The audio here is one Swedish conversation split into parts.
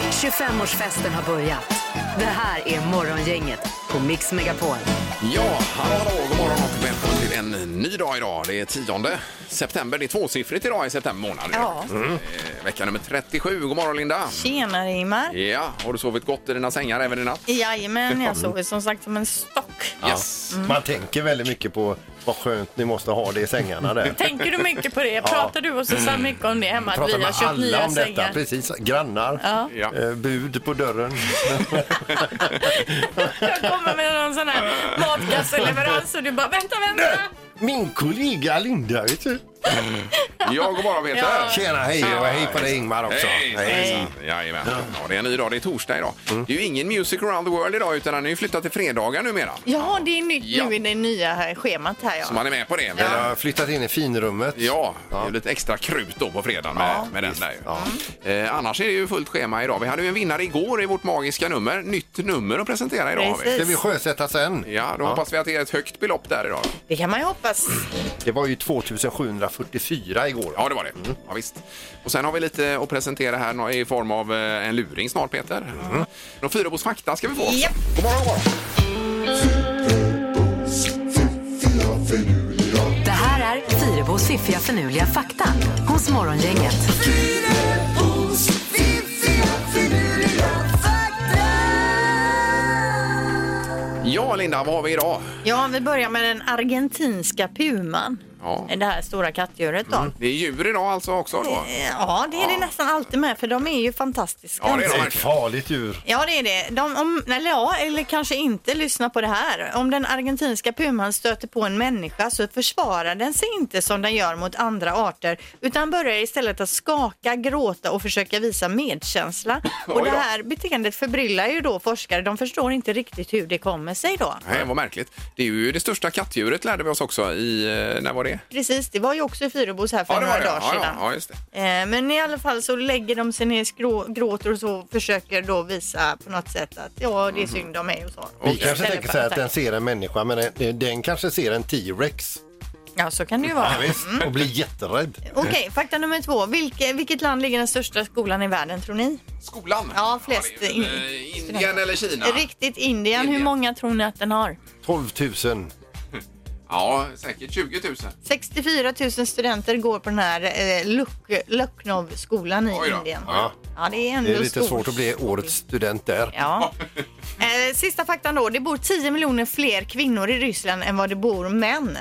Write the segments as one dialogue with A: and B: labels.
A: 25-årsfesten har börjat. Det här är Morgongänget på Mix Megapol.
B: Ja, hallå, hallå, god morgon och välkommen till en ny dag idag. Det är 10 september. Det är tvåsiffrigt idag i september månad.
C: Ja.
B: Eh, Vecka nummer 37. God morgon Linda.
C: Tjenare Ingmar!
B: Ja, har du sovit gott i dina sängar även i natt?
C: Jajamän, jag sover som sagt som en stock.
B: Yes.
C: Mm.
D: Man tänker väldigt mycket på vad skönt ni måste ha det i sängarna där.
C: Tänker du mycket på det? Pratar du och Susanne mycket om det hemma? Att vi har köpt nya
D: om
C: sängar?
D: precis. Grannar,
C: Ja.
B: Ja.
D: eh, bud på dörren.
C: Jag kommer med någon sån här matkasseleverans och du bara vänta, vänta!
D: Min kollega Linda, vet du.
B: Ja, god morgon Peter.
C: Ja.
D: Tjena, hej och hej på dig Ingmar också.
B: Hej, hejsan. Jajamän. Ja, det är en ny dag. Det är torsdag idag. Det är ju ingen Music around the world idag utan den är ju flyttad till fredagar numera.
C: Ja, det är nytt
B: Ja.
C: nu i det nya här schemat här
B: Så
C: ja.
B: man är med på det.
D: Jag har flyttat in i finrummet.
B: Ja, det är lite extra krut då på fredagen med, med den där ju. Eh, annars är det ju fullt schema idag. Vi hade ju en vinnare igår i vårt magiska nummer. Nytt nummer att presentera idag har vi.
D: Ska vi sjösätta sen?
B: Ja, då hoppas vi att det är ett högt belopp där idag.
C: Det kan man ju hoppas.
D: Det var ju 2744 igår.
B: Ja, det var det.
C: Mm.
B: Ja, visst. Och sen har vi lite att presentera här nå- i form av eh, en luring snart, Peter. Mm. Och Fyrebos fakta ska vi få. också.
C: Japp.
B: God morgon, god morgon.
A: Det här är Fyrebos fiffiga förnuliga fakta hos Morgongänget.
B: Ja, Linda, vad har vi idag?
C: Ja, vi börjar med den argentinska puman.
B: Ja. Mm.
C: Det här stora kattdjuret då.
B: Det är djur idag alltså också då.
C: Mm. Ja, det är det nästan alltid med för de är ju fantastiska.
B: Ja, det
D: Det
B: är
D: är ett farligt djur.
C: Ja, det är det. De, om, eller, ja, eller kanske inte lyssna på det här. Om den argentinska puman stöter på en människa så försvarar den sig inte som den gör mot andra arter utan börjar istället att skaka, gråta och försöka visa medkänsla.
B: Oj
C: Och
B: då.
C: det här beteendet förbryllar ju då forskare. De förstår inte riktigt hur det kommer sig då.
B: Nej, vad märkligt. Det är ju det största kattdjuret lärde vi oss också i... eh, När var det?
C: Precis, det var ju också i Fyrebos här för
B: det var
C: några
B: det.
C: dagar
B: ja,
C: sedan.
B: ja, ja, just det.
C: Eh, Men i alla fall så lägger de sig ner, skrå- gråter och så försöker då visa på något sätt att ja,
B: Mm.
C: det är synd om mig och så.
D: Vi
C: Och
D: kanske
C: istället
D: tänker
C: för
D: så här att
C: attack.
D: den ser en människa, men den, den kanske ser en T-rex.
C: Ja, så kan det ju vara.
D: Och blir jätterädd.
C: Okej, fakta nummer två. Vilke, vilket land ligger den största skolan i världen tror ni?
B: Skolan?
C: Ja, flest.
B: det är ju, eh, Indien eller Kina?
C: Riktigt Indien.
B: Indien.
C: Hur många tror ni att den har?
D: 12 000.
B: Ja, säkert 20 000.
C: 64 000 studenter går på den här eh, Luk- Lucknow-skolan i
B: Oj då.
C: Indien.
B: Ja.
C: Ja, det är ändå
D: Det är lite
C: stor-
D: svårt att bli årets student där.
C: Ja. Eh, sista faktan då. Det bor 10 miljoner fler kvinnor i Ryssland än vad det bor män.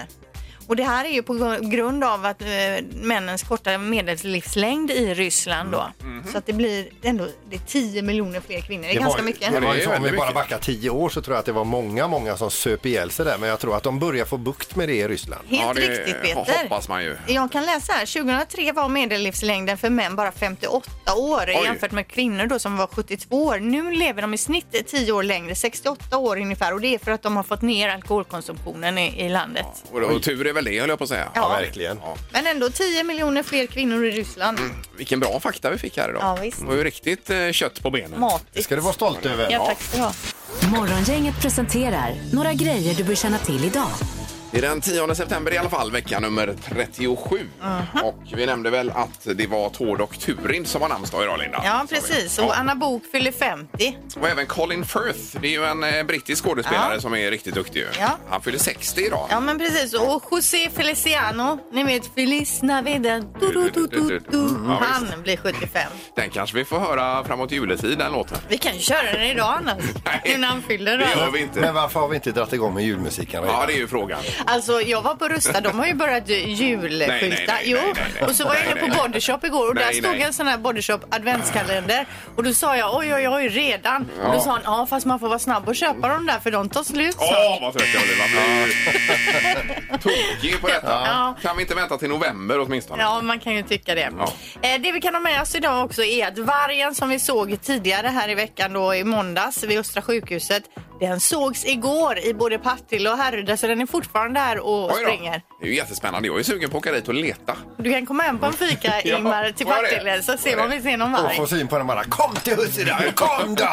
C: Och det här är ju på grund av att eh, männens korta medellivslängd i Ryssland då. Så att det blir ändå det är 10 miljoner fler kvinnor. Mm. Mm-hmm. Det är ganska
D: var,
C: mycket.
D: Det var
B: Det är
D: ju så, om vi
B: väldigt
D: bara
B: mycket.
D: backar tio år så tror jag att det var många, många som söp ihjäl sig där. Men jag tror att de börjar få bukt med det i Ryssland.
C: Helt
B: ja, det
C: riktigt Peter.
B: hoppas man ju.
C: Jag kan läsa här. 2003 var medellivslängden för män bara 58 år jämfört med kvinnor då som var 72 år. Nu lever de i snitt 10 år längre, 68 år ungefär. Och det är för att de har fått ner alkoholkonsumtionen i, i landet.
B: Och, då, och tur är väl det, höll jag på att säga.
C: Ja.
D: verkligen.
B: Ja.
C: Men ändå 10 miljoner fler kvinnor i Ryssland.
B: Vilken bra fakta vi fick här idag.
C: Ja, visst.
B: Det var ju riktigt eh, kött på benen.
D: Det
C: Matigt.
D: ska du vara stolt över.
C: Ja, tack ska du ha.
A: Morgongänget presenterar några grejer du bör känna till idag.
B: Det är den 10 september i alla fall, vecka nummer 37.
C: Uh-huh.
B: Och vi nämnde väl att det var Tord och Turid som har namnsdag idag, Linda.
C: Ja,
B: Sa vi.
C: precis.
B: Ja.
C: Och Anna Bok fyller 50.
B: Och även Colin Firth, det är ju en eh, brittisk skådespelare
C: Ja.
B: som är riktigt duktig. ju.
C: Ja.
B: Han fyller 60 idag.
C: Ja, men precis. Och José Feliciano, ni vet Feliz Navidad. Du, du, du, du, du.
B: Ja, visst.
C: Han blir 75.
B: Den kanske vi får höra framåt juletid, den låten.
C: Vi kan ju köra den idag annars,
B: Nej.
C: innan han fyller
B: Det
C: då.
B: gör vi inte.
D: Men varför har vi inte dragit igång med julmusiken redan?
B: Ja, det är ju frågan.
C: Alltså jag var på Rusta, de har ju börjat
B: Nej, nej,
C: julskylta.
B: nej,
C: Jo,
B: nej, nej, nej.
C: och så var jag inne
B: Nej, nej,
C: på Bodyshop igår och där
B: Nej,
C: stod
B: nej.
C: en sån här Bodyshop adventskalender. Och då sa jag oj, oj, oj, redan. Och
B: Ja.
C: då sa han ja, fast man får vara snabb och köpa dem där för de tar slut snart.
B: Åh, vad trött jag blir. Man blir ju tokig på detta.
C: Ja.
B: Kan vi inte vänta till november åtminstone?
C: Ja, man kan ju tycka det.
B: Ja.
C: Eh, Det vi kan ha med oss idag också är att vargen som vi såg tidigare här i veckan då i måndags vid Östra sjukhuset, Den sågs igår i både Partille och Härryda så den är fortfarande där och
B: Oj då.
C: springer.
B: Det är ju jättespännande. Jag är sugen på att åka dit och leta.
C: Du kan komma hem på en fika
B: Ja,
C: Ingmar till
B: får jag det?
C: Partille så
B: Får
C: ser
B: jag
C: man om
B: det?
C: vi ser någon
D: Och
C: varg.
D: få syn på den bara. Kom till Husse kom då!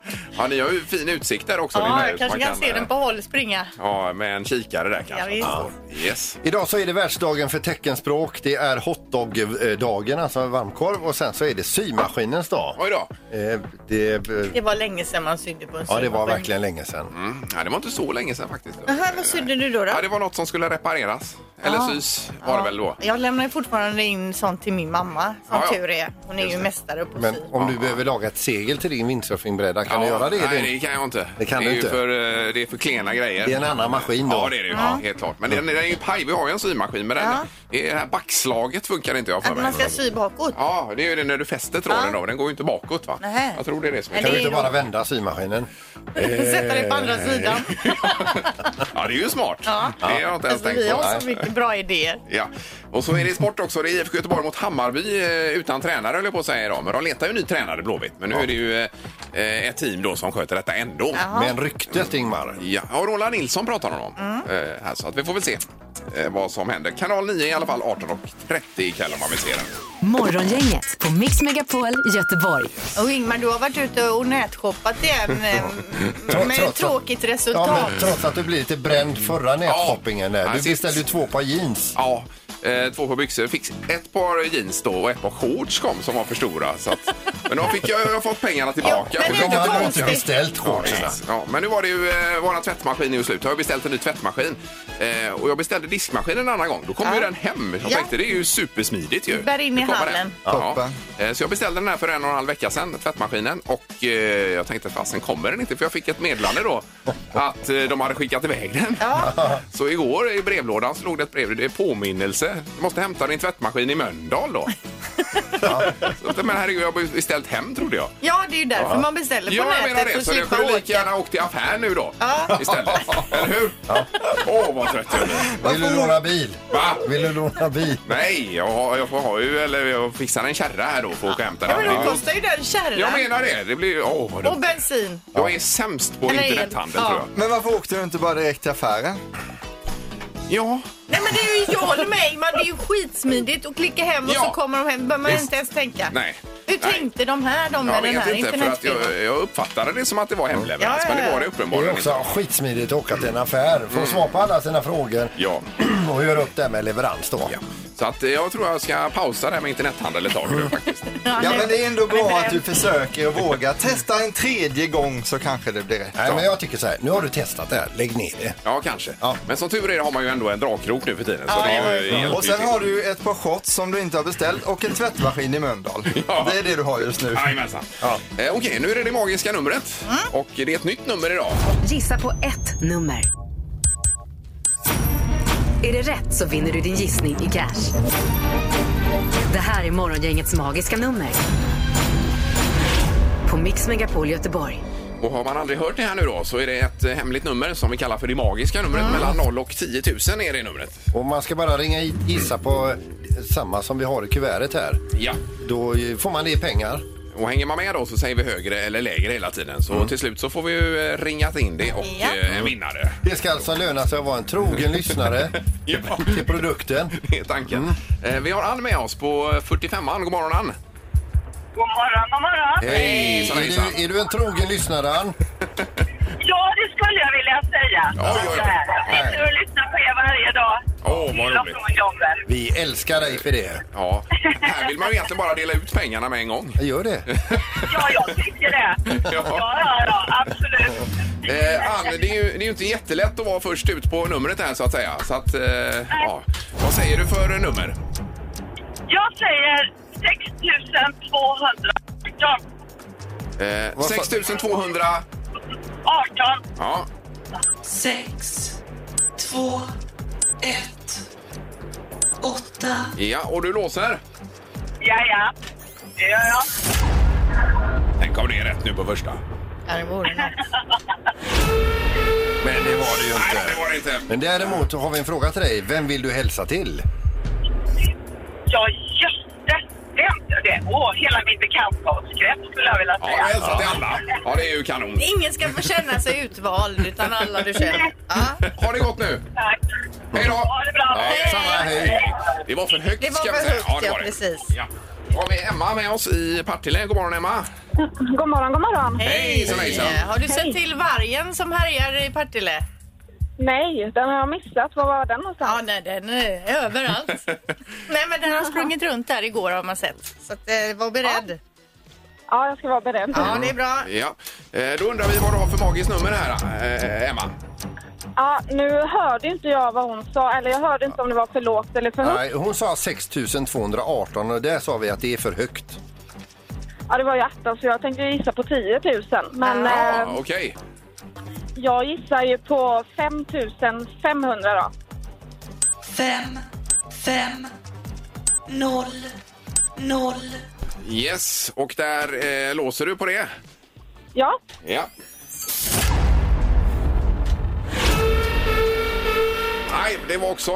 B: ja, ni har ju fin utsikt där också.
C: Ja,
B: Linda,
C: jag
B: så man
C: kanske kan se
B: eh,
C: den på håll springa.
B: Ja, med en kikare där
C: Ja,
B: kanske.
C: visst.
B: yes.
D: Idag så är det världsdagen för teckenspråk. Det är hotdog-dagen, alltså varmkorv. Och sen så är det symaskinens dag.
B: Oj då.
D: Eh, Det,
C: Det var länge sedan man sydde på en
D: ja, det var
C: symaskin.
D: verkligen länge sedan.
B: Mm. Ja, det var inte så länge sedan faktiskt.
C: Aha, vad sydde du då? då?
B: Ja, det var något som skulle repareras. Eller
C: Ja.
B: sys var det väl då.
C: Jag lämnar ju fortfarande in sånt till min mamma, som
B: Ja, ja.
C: tur är. Hon är ju mästare på
D: Men
C: sy.
D: om du behöver laga ett segel till din windsurfingbräda, kan
B: ja,
D: du göra det? i
B: Nej,
D: din-
B: det kan jag inte.
D: Det
B: det
D: kan du
B: är
D: inte.
B: Ju för, eh, det är för klena grejer.
D: Det är en annan maskin då.
B: Ja, det är det ju. Helt klart. Men den, den är ju paj. Vi har ju en symaskin, men den,
C: Ja.
B: det här backslaget funkar inte jag för
C: Att
B: mig.
C: man ska sy bakåt.
B: Ja, det är ju det när du fäster tråden då. Den går ju inte bakåt va?
C: Nej.
B: Jag tror det är det som är
C: Men
D: Kan
C: det
D: du
C: är
D: inte
C: ju-
D: bara vända symaskinen?
C: Sätta dig på andra sidan.
B: Ja, det är ju smart. Det har jag inte
C: Alltså,
B: ens tänkt
C: vi
B: på.
C: har så mycket bra idéer.
B: Ja, och så är det sport också. Det är IFK Göteborg mot Hammarby eh, utan tränare höll jag på att säga idag. Men de letar ju ny tränare Blåvitt. Men nu är det ju eh, ett team då som sköter detta ändå.
C: Jaha.
D: Men ryktet, Ingmar.
B: Ja, och Roland Nilsson pratar om
C: Mm.
B: dem. Eh, här, så att vi får väl se eh, vad som händer. Kanal 9 i alla fall 18.30 ikväll om man vill se den.
A: Morgongänget på Mix Megapol Göteborg.
C: Och Ingmar, du har varit ute och nätshoppat igen eh, med ett
D: trots-
C: tråkigt
D: Ja,
C: resultat.
D: men trots att du blir lite bränd förra nätshoppingen där.
B: Ja,
D: Du
B: sist.
D: beställde ju två par jeans.
B: Ja, eh, två par byxor. Fick ett par jeans då och ett par shorts kom som var för stora. Så att, men då fick jag, jag har fått pengarna
C: men
B: tillbaka.
C: det är
B: Och
D: De
C: inte
B: då-
D: hade
C: konstigt.
D: inte beställt shortsen.
B: Ja, Ja, men nu var det ju, eh, våran tvättmaskin är ju slut. Jag har beställt en ny tvättmaskin. Eh, och jag beställde diskmaskin en annan gång. Då kom
C: Ja.
B: ju den hem. Jag
C: Ja.
B: tänkte det är ju supersmidigt ju.
C: bär in
B: Nu
C: i
B: kommer
C: hallen.
B: den. Ja. Eh, så jag beställde den här för en och en halv vecka sedan, tvättmaskinen. Och eh, jag tänkte fasen kommer den inte? För jag fick ett meddelande då att eh, de hade skickat iväg den. Så igår i brevlådan så låg det ett brev. Det är påminnelse. Du måste hämta din tvättmaskin i Mölndal då. så, men herregud, jag har beställt hem trodde jag.
C: Ja, det är ju därför man beställer på
B: Ja, jag menar
C: nätet
B: det. Så jag
C: slippa
B: kunde
C: åka.
B: lika gärna åkt till affären nu då.
C: Ja.
B: Istället. Eller hur? Åh, vad trött jag blir.
D: Vill du låna bil?
B: Va?
D: Vill du låna bil?
B: Nej, jag, har- jag får ha ju, eller jag fixar en kärra här då för att åka och hämta
C: Ja,
B: den.
C: men det kostar ju den
B: Jag
C: kärran.
B: menar det. Det blir ju... Åh, vad
C: Och
B: dumt.
C: bensin.
B: Jag är sämst på
C: Eller el.
B: internethandel
C: Ja.
B: tror jag.
E: Men varför åkte du inte bara direkt till affären?
B: Ja,
C: Nej men det är ju jag håller med Ingmar. Det är ju skitsmidigt att klicka hem och
B: Ja.
C: så kommer de hem. Behöver man inte ens tänka.
B: nej.
C: Hur
B: Nej.
C: tänkte de här, de
B: Jag
C: med den här
B: vet inte, för att
C: internetfirman?
B: jag, jag uppfattade det som att det var hemleverans,
C: Ja, ja,
B: men det
C: ja.
B: var det
D: Det är
B: uppenbarligen inte. Mm.
D: också skitsmidigt att åka till en affär, få svar på alla sina frågor
B: Ja.
D: och göra upp det här med leverans då.
B: ja. Så att eh, jag tror jag ska pausa det här med internethandel ett tag nu faktiskt.
C: Ja,
E: Ja
C: nej.
E: men det är ändå bra
C: bränd.
E: att du försöker eh, och vågar. Testa en tredje gång så kanske det blir rätt.
D: Nej, men jag tycker så här, nu har du testat det här, lägg ner det.
B: Ja, kanske.
D: Ja.
B: Men som tur är har man ju ändå en dragkrok nu för tiden. Så det är ju, hjälper
E: Och
B: ju
E: sen
B: till.
E: har du ju ett par shorts som du inte har beställt och en tvättmaskin i Mölndal.
B: Ja.
E: Det är det du har just nu.
B: Jajamensan.
E: Ja.
B: Eh, Okej, nu är det det magiska numret. Och det är ett nytt nummer idag.
A: Gissa på ett nummer. Är det rätt så vinner du din gissning i cash. Det här är Morgongängets magiska nummer. På Mix Megapol Göteborg.
B: Och har man aldrig hört det här nu då så är det ett eh, hemligt nummer som vi kallar för det magiska numret. Mellan 0 och 10 000 är det numret.
D: Och man ska bara ringa hit, gissa på eh, samma som vi har i kuvertet här.
B: Ja.
D: Då eh, får man det i pengar.
B: Och hänger man med då så säger vi högre eller lägre hela tiden. Så till slut så får vi ju eh, ringat in det och
C: Ja.
B: eh, en vinnare.
D: Det ska alltså löna sig att vara en trogen lyssnare
B: Ja.
D: till produkten.
B: Det är tanken. Eh, Vi har Ann med oss på 45an. God morgon Ann!
F: God morgon, god morgon.
B: Hejsan
D: Är
B: hejsan!
D: du, är du en trogen lyssnare, Ann?
F: Ja, det skulle jag vilja säga.
B: Ja, ja, ja.
F: Jag sitter och lyssnar på er varje dag.
B: Åh, vad
F: Till och
B: roligt.
F: från jobbet.
D: Vi älskar dig för det.
B: Ja, här vill man ju egentligen bara dela ut pengarna med en gång.
D: Jag gör det.
F: Ja, jag tycker det.
B: Ja.
F: Ja, ja, ja, absolut.
B: Eh, Ann, det är, ju, det är ju inte jättelätt att vara först ut på numret här så att säga. Så att, eh, ja. Vad säger du för nummer?
F: Jag säger 6218.
B: Eh,
D: Vad sa-
B: 6200...
F: 18.
B: Ja.
G: sex, två, ett, åtta.
B: ja, och du låser?
F: Ja, ja. Det gör jag.
B: Tänk om det är rätt nu på första.
C: Ja, det vore något.
D: Men det var det ju
B: Nej, det
D: inte.
B: var det inte.
D: Men däremot har vi en fråga till dig. Vem vill du hälsa till?
F: Ja, just det. Vem? Det, åh, hela min bekantskapskrets skulle jag vilja
B: Ja,
F: säga.
B: jag hälsar till alla. Ja, det är ju kanon.
C: Ingen ska få känna sig utvald utan alla du känner. Ja.
B: Ha det gott nu.
F: Tack.
B: Hej då.
F: Ha det bra.
B: Ja,
F: Hej.
B: samma, hej. Det var för högt
C: Det var
B: ska vi
C: för
B: säga.
C: högt, ja, precis.
B: Ja. Då har vi Emma med oss i Partille. God morgon Emma.
H: God morgon, god morgon.
B: Hejsan, hejsan.
C: Eh, Har du sett till vargen som härjar i Partille?
H: Nej, den har jag missat. Var var den
C: Ja,
H: någonstans?
C: nej, den är överallt. nej, men den har sprungit runt där igår har man sett. Så att, eh, var beredd.
H: Ja, jag ska vara beredd.
C: Ja, det är bra.
B: Ja. Eh, Då undrar vi vad du har för magiskt nummer här, eh, Emma.
H: Ja, nu hörde inte jag vad hon sa, eller jag hörde inte om det var för lågt eller för högt.
D: Nej, hon sa 6218 och där sa vi att det är för högt.
H: Ja, det var ju 18 så jag tänkte gissa på 10 000. Men
B: Ja,
H: eh,
B: Okej.
H: jag gissar ju på 5 500 då.
G: fem, fem, noll, noll.
B: Yes, och där eh, låser du på det.
H: Ja,
B: Ja. Nej, det var också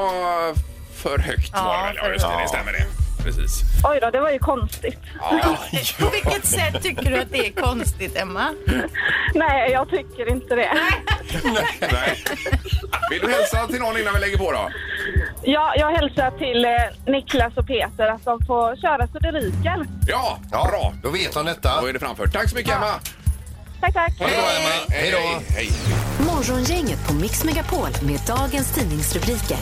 B: för högt
C: Ja,
B: var det väl? Ja,
C: för
B: just det, det stämmer det. Precis.
H: oj då, det var ju konstigt.
B: Ja.
C: Eh, På vilket sätt tycker du att det är konstigt, Emma?
H: Nej, jag tycker inte det.
B: Nej. Vill du hälsa till någon innan vi lägger på då?
H: Ja, jag hälsar till eh, Niklas och Peter att de får köra så det ryker.
B: Ja, bra.
D: Då vet hon detta.
B: Då är det framfört. Tack så mycket Emma.
H: Tack, tack.
B: Hej, hej,
D: Hej
B: hej.
A: Morgongänget på Mix Megapol med dagens tidningsrubriker.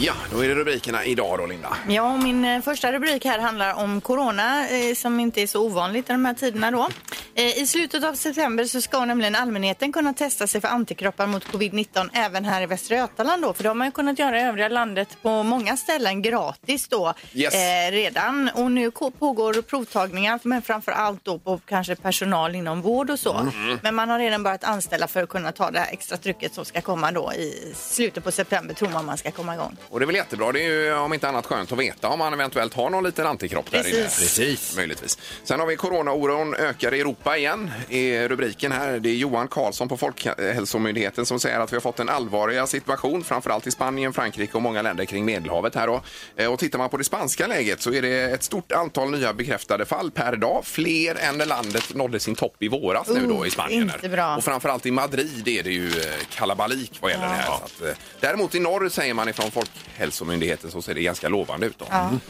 B: Ja, då är det rubrikerna idag då Linda.
C: Ja, och min eh, första rubrik här handlar om corona eh, som inte är så ovanligt i de här tiderna då. Eh, I slutet av september så ska nämligen allmänheten kunna testa sig för antikroppar mot covid-19 även här i Västra Götaland då, för det har man ju kunnat göra i övriga landet på många ställen gratis då
B: Yes.
C: eh, redan. Och nu ko- pågår provtagningar, men framför allt då på kanske personal inom vård och så. Men man har redan börjat anställa för att kunna ta det här extra trycket som ska komma då i slutet på september tror man man ska komma igång.
B: Och det är väl jättebra. Det är ju om inte annat skönt att veta om man eventuellt har någon liten antikropp där inne.
C: Precis.
D: Precis.
B: Möjligtvis. Sen har vi coronaoron ökar i Europa igen. I rubriken här, det är Johan Karlsson på Folkhälsomyndigheten som säger att vi har fått en allvarliga situation, framförallt i Spanien, Frankrike och många länder kring Medelhavet här då. Eh, Och tittar man på det spanska läget så är det ett stort antal nya bekräftade fall per dag. Fler än när landet nådde sin topp i våras nu då
C: Oh,
B: i Spanien.
C: inte
B: här.
C: bra.
B: Och framförallt i Madrid är det ju eh, kalabalik vad gäller det här. Så att, eh, däremot i norr säger man ifrån Folkhälsomyndigheten så ser det ganska lovande ut då. Mm.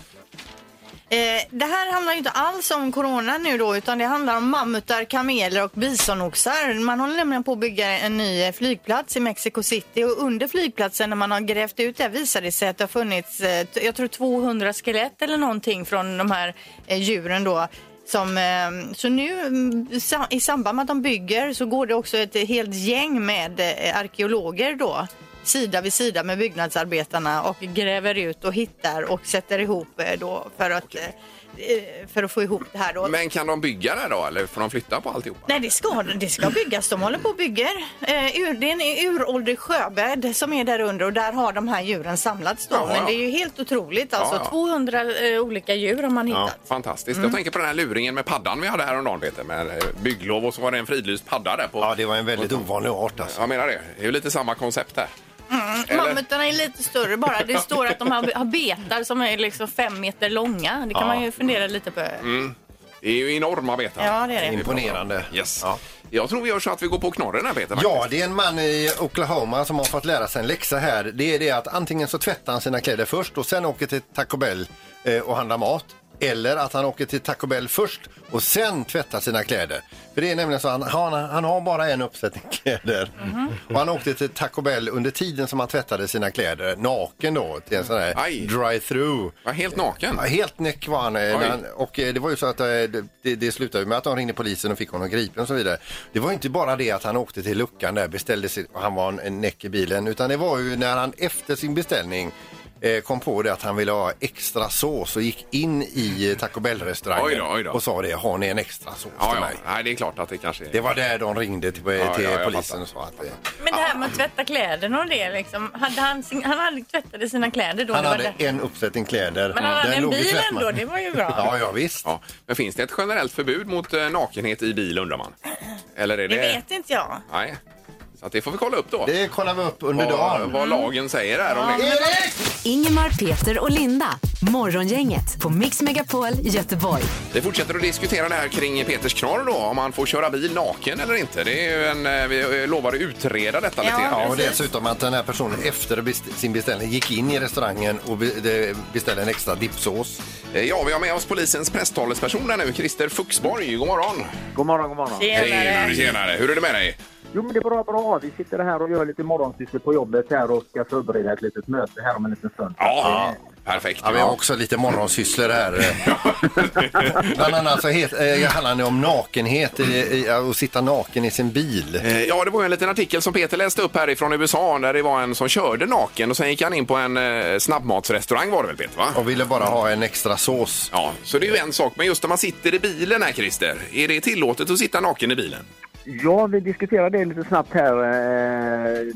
C: Eh, det här handlar ju inte alls om corona nu då utan det handlar om mammutar, kameler och bisonoxar. Man håller nämligen på att bygga en ny eh, flygplats i Mexico City och under flygplatsen när man har grävt ut det visar det sig att det har funnits, eh, t- jag tror 200 skelett eller någonting från de här eh, djuren då. Som, eh, så nu mm, sa- i samband med att de bygger så går det också ett helt gäng med eh, arkeologer då sida vid sida med byggnadsarbetarna och gräver ut och hittar och sätter ihop eh, då för att, eh, för att få ihop det här då.
B: Men kan de bygga där då eller får de flytta på alltihopa?
C: Nej, det ska, det ska byggas. De håller på och bygger. Eh, ur, det är en uråldrig sjöbädd som är där under och där har de här djuren samlats då.
B: Ja, ja.
C: Men det är ju helt otroligt alltså.
B: Ja, ja.
C: 200 eh, olika djur har man hittat.
B: Fantastiskt.
D: Mm.
B: Jag tänker på den här luringen med paddan vi hade häromdagen Peter, med eh, bygglov och så var det en fridlyst padda där på.
D: Ja, det var en väldigt ovanlig art alltså.
B: Jag menar det. Det är ju lite samma koncept där.
D: Mm.
B: Eller?
C: Mammutarna är lite större bara. Det står att de har, har betar som är liksom fem meter långa. Det kan man ju fundera lite på.
B: Det är ju enorma betar.
C: Ja, det är det.
D: Imponerande.
B: Yes.
D: Ja.
B: Jag tror vi gör så att vi går på knorren här Peter.
D: Ja, det är en man i Oklahoma som har fått lära sig en läxa här. Det är det att antingen så tvättar han sina kläder först och sen åker till Taco Bell eh, och handlar mat. Eller att han åker till Taco Bell först och sen tvättar sina kläder. För det är nämligen så att han, han, han har bara en uppsättning kläder. Och han åkte till Taco Bell under tiden som han tvättade sina kläder, naken då, till en sån här
B: Aj.
D: drive-through.
B: Ja, helt naken.
D: Ja, helt näck var han. eh,
B: Oj.
D: När han och eh, det var ju så att eh, det, det- det slutade ju med att de ringde polisen och fick honom gripen och så vidare. Det var ju inte bara det att han åkte till luckan där, beställde sig och han var en- en näck i bilen, utan det var ju när han efter sin beställning eh, kom på det att han ville ha extra sås och gick in i eh, Taco
B: Oj
D: Bell-restaurangen
B: då, oj då.
D: och sa det, har ni en extra sås
B: Ja,
D: till
B: ja.
D: mig?
B: Nej, det är klart att det kanske är...
D: Det var där de ringde till, eh,
B: ja,
D: till
B: jag
D: polisen
B: fattar.
D: och sa att eh,
I: Men det här med att tvätta kläderna och det liksom. Hade han, sin, han hade tvättade sina kläder då?
D: han
I: det var
D: hade
I: det.
D: en uppsättning kläder.
I: Men han hade
D: Den
I: en
D: låg i
I: bil
D: tvättma-
I: ändå, det var ju bra.
D: Ja, ja visst.
B: Ja. Men finns det ett generellt förbud mot eh, nakenhet i bil undrar man? Eller är det...
I: Det vet inte jag.
B: Nej. Så att det får vi kolla upp då.
D: Det kollar vi upp under
B: Vad,
D: dagen.
B: vad lagen säger här om det.
D: Erik!
A: Ingemar, Peter och Linda. Morgongänget på Mix Megapol Göteborg.
B: Vi fortsätter att diskutera det här kring Peters knorr då, om han får köra bil naken eller inte. Det är ju en, eh, vi eh, lovar att utreda detta lite grann.
D: Ja, och
I: Precis.
D: dessutom att den här personen efter best- sin beställning gick in i restaurangen och be- de- beställde en extra dippsås.
B: Eh, Ja, vi har med oss polisens presstalesperson här nu, Christer Fuxborg. God morgon!
J: God morgon, god morgon.
B: Tjenare! Tjenare! Hur är det med dig?
J: Jo, men det är bra, bra. Vi sitter här och gör lite morgonsyssel på jobbet här och ska förbereda ett litet möte här om en liten stund.
B: Ja, perfekt.
D: Ja, vi har också lite morgonsysslor här. Bland annat så het, eh, handlar det om nakenhet i, i, och sitta naken i sin bil.
B: Eh, Ja, det var ju en liten artikel som Peter läste upp härifrån USA där det var en som körde naken och sen gick han in på en eh, snabbmatsrestaurang var det väl Peter? Va?
D: Och ville bara ha en extra sås.
B: Ja, så det är ju en sak. Men just när man sitter i bilen här Christer, är det tillåtet att sitta naken i bilen?
J: Ja, vi diskuterar det lite snabbt här. Eh,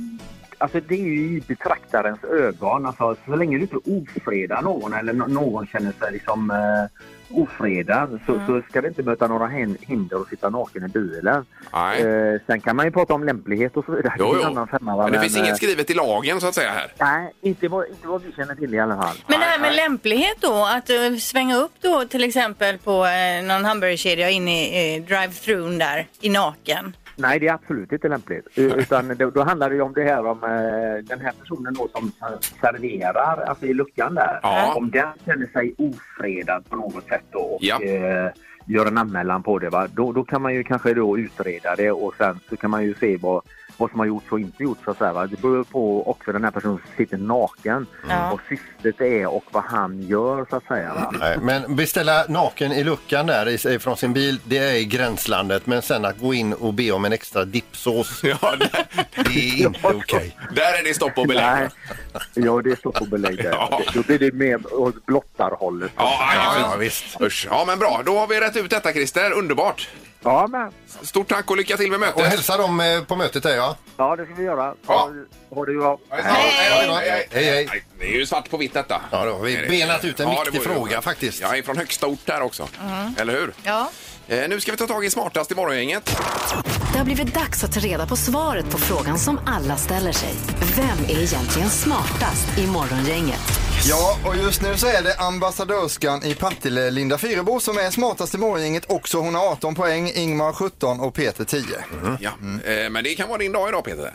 J: Alltså, det är ju i betraktarens ögon. Alltså, så länge du inte ofredar någon eller no- någon känner sig liksom eh, ofredad
B: Mm.
J: så, så ska det inte möta några hin- hinder att sitta naken i bilen.
B: Nej.
J: Eh, sen kan man ju prata om lämplighet och så vidare.
B: Jo,
J: det är en
B: jo.
J: annan femma, va?
B: Men det
J: Men,
B: finns
J: eh,
B: inget skrivet i lagen så att säga här.
J: Nej, inte vad, inte vad vi känner till i alla fall.
I: Men det
B: Nej,
I: här med
B: nej.
I: lämplighet då, att eh, svänga upp då till exempel på eh, någon hamburgerkedja in i eh, drive-thrun där i naken.
J: Nej, det är absolut inte lämpligt. U- Utan då, då handlar det ju om det här om eh, den här personen då som ser- serverar, alltså i luckan där.
B: Ja.
J: Om den känner sig ofredad på något sätt då och
B: Ja.
J: eh, gör en anmälan på det, va? Då, då kan man ju kanske då utreda det och sen så kan man ju se vad vad som har gjorts och inte gjorts. Så att säga, va? Det beror på också den här personen som sitter naken,
B: Mm.
I: Ja.
J: vad syftet är och vad han gör så att säga. Va?
D: Nej, men beställa naken i luckan där i- ifrån sin bil, det är i gränslandet. Men sen att gå in och be om en extra dippsås,
B: Ja, där,
D: det är inte okej.
B: där är det stopp och belägg.
J: Nej. Ja, det står på belägg där.
B: Ja.
J: Då blir det mer åt blottarhållet.
B: Ja, aj,
D: Ja,
B: aj,
D: ja, visst.
B: Usch. Ja, men bra. Då har vi rätt ut detta Christer. Underbart.
J: Ja, men.
B: Stort tack och lycka till med mötet.
D: Och hälsa dem eh, på mötet där ja.
J: Ja, det ska vi göra.
B: Ja.
J: Ha, ha det bra.
B: Hej, hej,
D: Hej, hej.
B: Det är ju svart på vitt detta.
D: Ja, då har vi
B: Är det-
D: benat ut en
B: Ja, det
D: viktig
B: var ju-
D: fråga faktiskt.
B: Jag är från högsta ort där också. Eller hur?
I: Mm. Ja.
B: Eh, nu ska vi ta tag i smartast i morgongänget.
A: Det har blivit dags att ta reda på svaret på frågan som alla ställer sig. Vem är egentligen smartast i morgongänget?
E: Ja, och just nu så är det ambassadörskan i Partille, Linda Fyrebo, som är smartast i morgongänget också. Hon har 18 poäng, Ingmar 17 och Peter 10.
D: Mm.
B: Ja. Eh, men det kan vara din dag idag Peter. Alltså,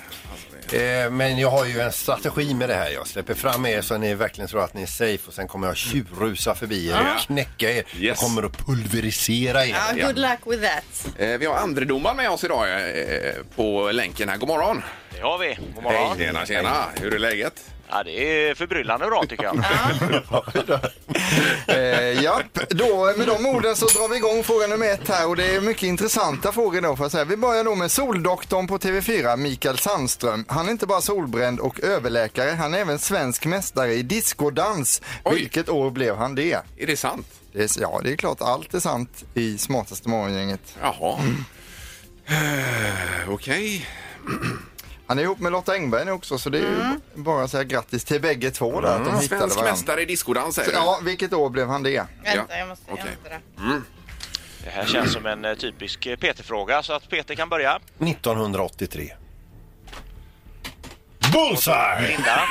B: det-
D: Eh, Men jag har ju en strategi med det här. Jag släpper fram er så ni verkligen tror att ni är safe och sen kommer jag tjurrusa förbi er och knäcka er. Jag
B: Yes.
D: kommer att pulverisera er.
I: Ja, good luck with that.
B: Eh, vi har andredomaren med oss idag eh, på länken här. God morgon!
K: Det har vi. God morgon.
B: Tjena, tjena! Hur är läget?
K: Ja, det är förbryllande bra tycker jag.
E: Eh, japp, då med de orden så drar vi igång fråga nummer ett här och det är mycket intressanta frågor då får jag säga. Vi börjar då med soldoktorn på TV4, Mikael Sandström. Han är inte bara solbränd och överläkare, han är även svensk mästare i discodans.
B: Oj.
E: Vilket år blev han det?
B: Är det sant?
E: det är, ja, det är klart allt är sant i Smartaste morgongänget.
B: Jaha. Eh,
D: Mm.
B: Okej.
E: Han är ihop med Lotta Engberg nu också så det är ju bara att säga grattis till bägge två där att de hittade
B: Mm. Svensk
E: varandra.
B: mästare i discodans säger du?
E: Ja, vilket år blev han det?
I: Vänta, jag måste
B: okej.
I: hämta det.
K: Det här känns som en eh, typisk eh, Peter-fråga så att Peter kan börja.
D: 1983. Bullseye!
K: Linda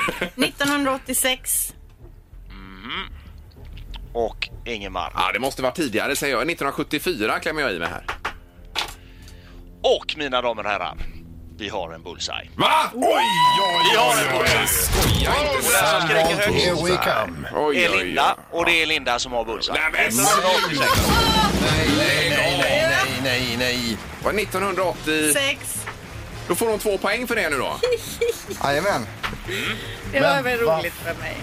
I: 1986.
K: och Ingemar.
B: Ja, det måste vara tidigare säger jag. 1974 klämmer jag i mig här.
K: Och mina damer och herrar, vi har en bullseye.
B: Va? Oj, oj,
K: Vi har en bullseye!
B: Skoja inte!
K: Och den som skriker
D: Here
K: högst
D: we come.
B: Oj,
K: är
B: oj, Mm. oj.
K: Linda och det är Linda som har bullseye.
B: Nej, men
K: Ursäkta.
D: Nej, nej, nej, nej, nej, nej.
B: Vad, 1980...
I: Sex.
B: Då får hon två poäng för det nu då.
E: Jajamän.
I: Det
D: Men
I: var väl
D: va?
I: roligt för mig.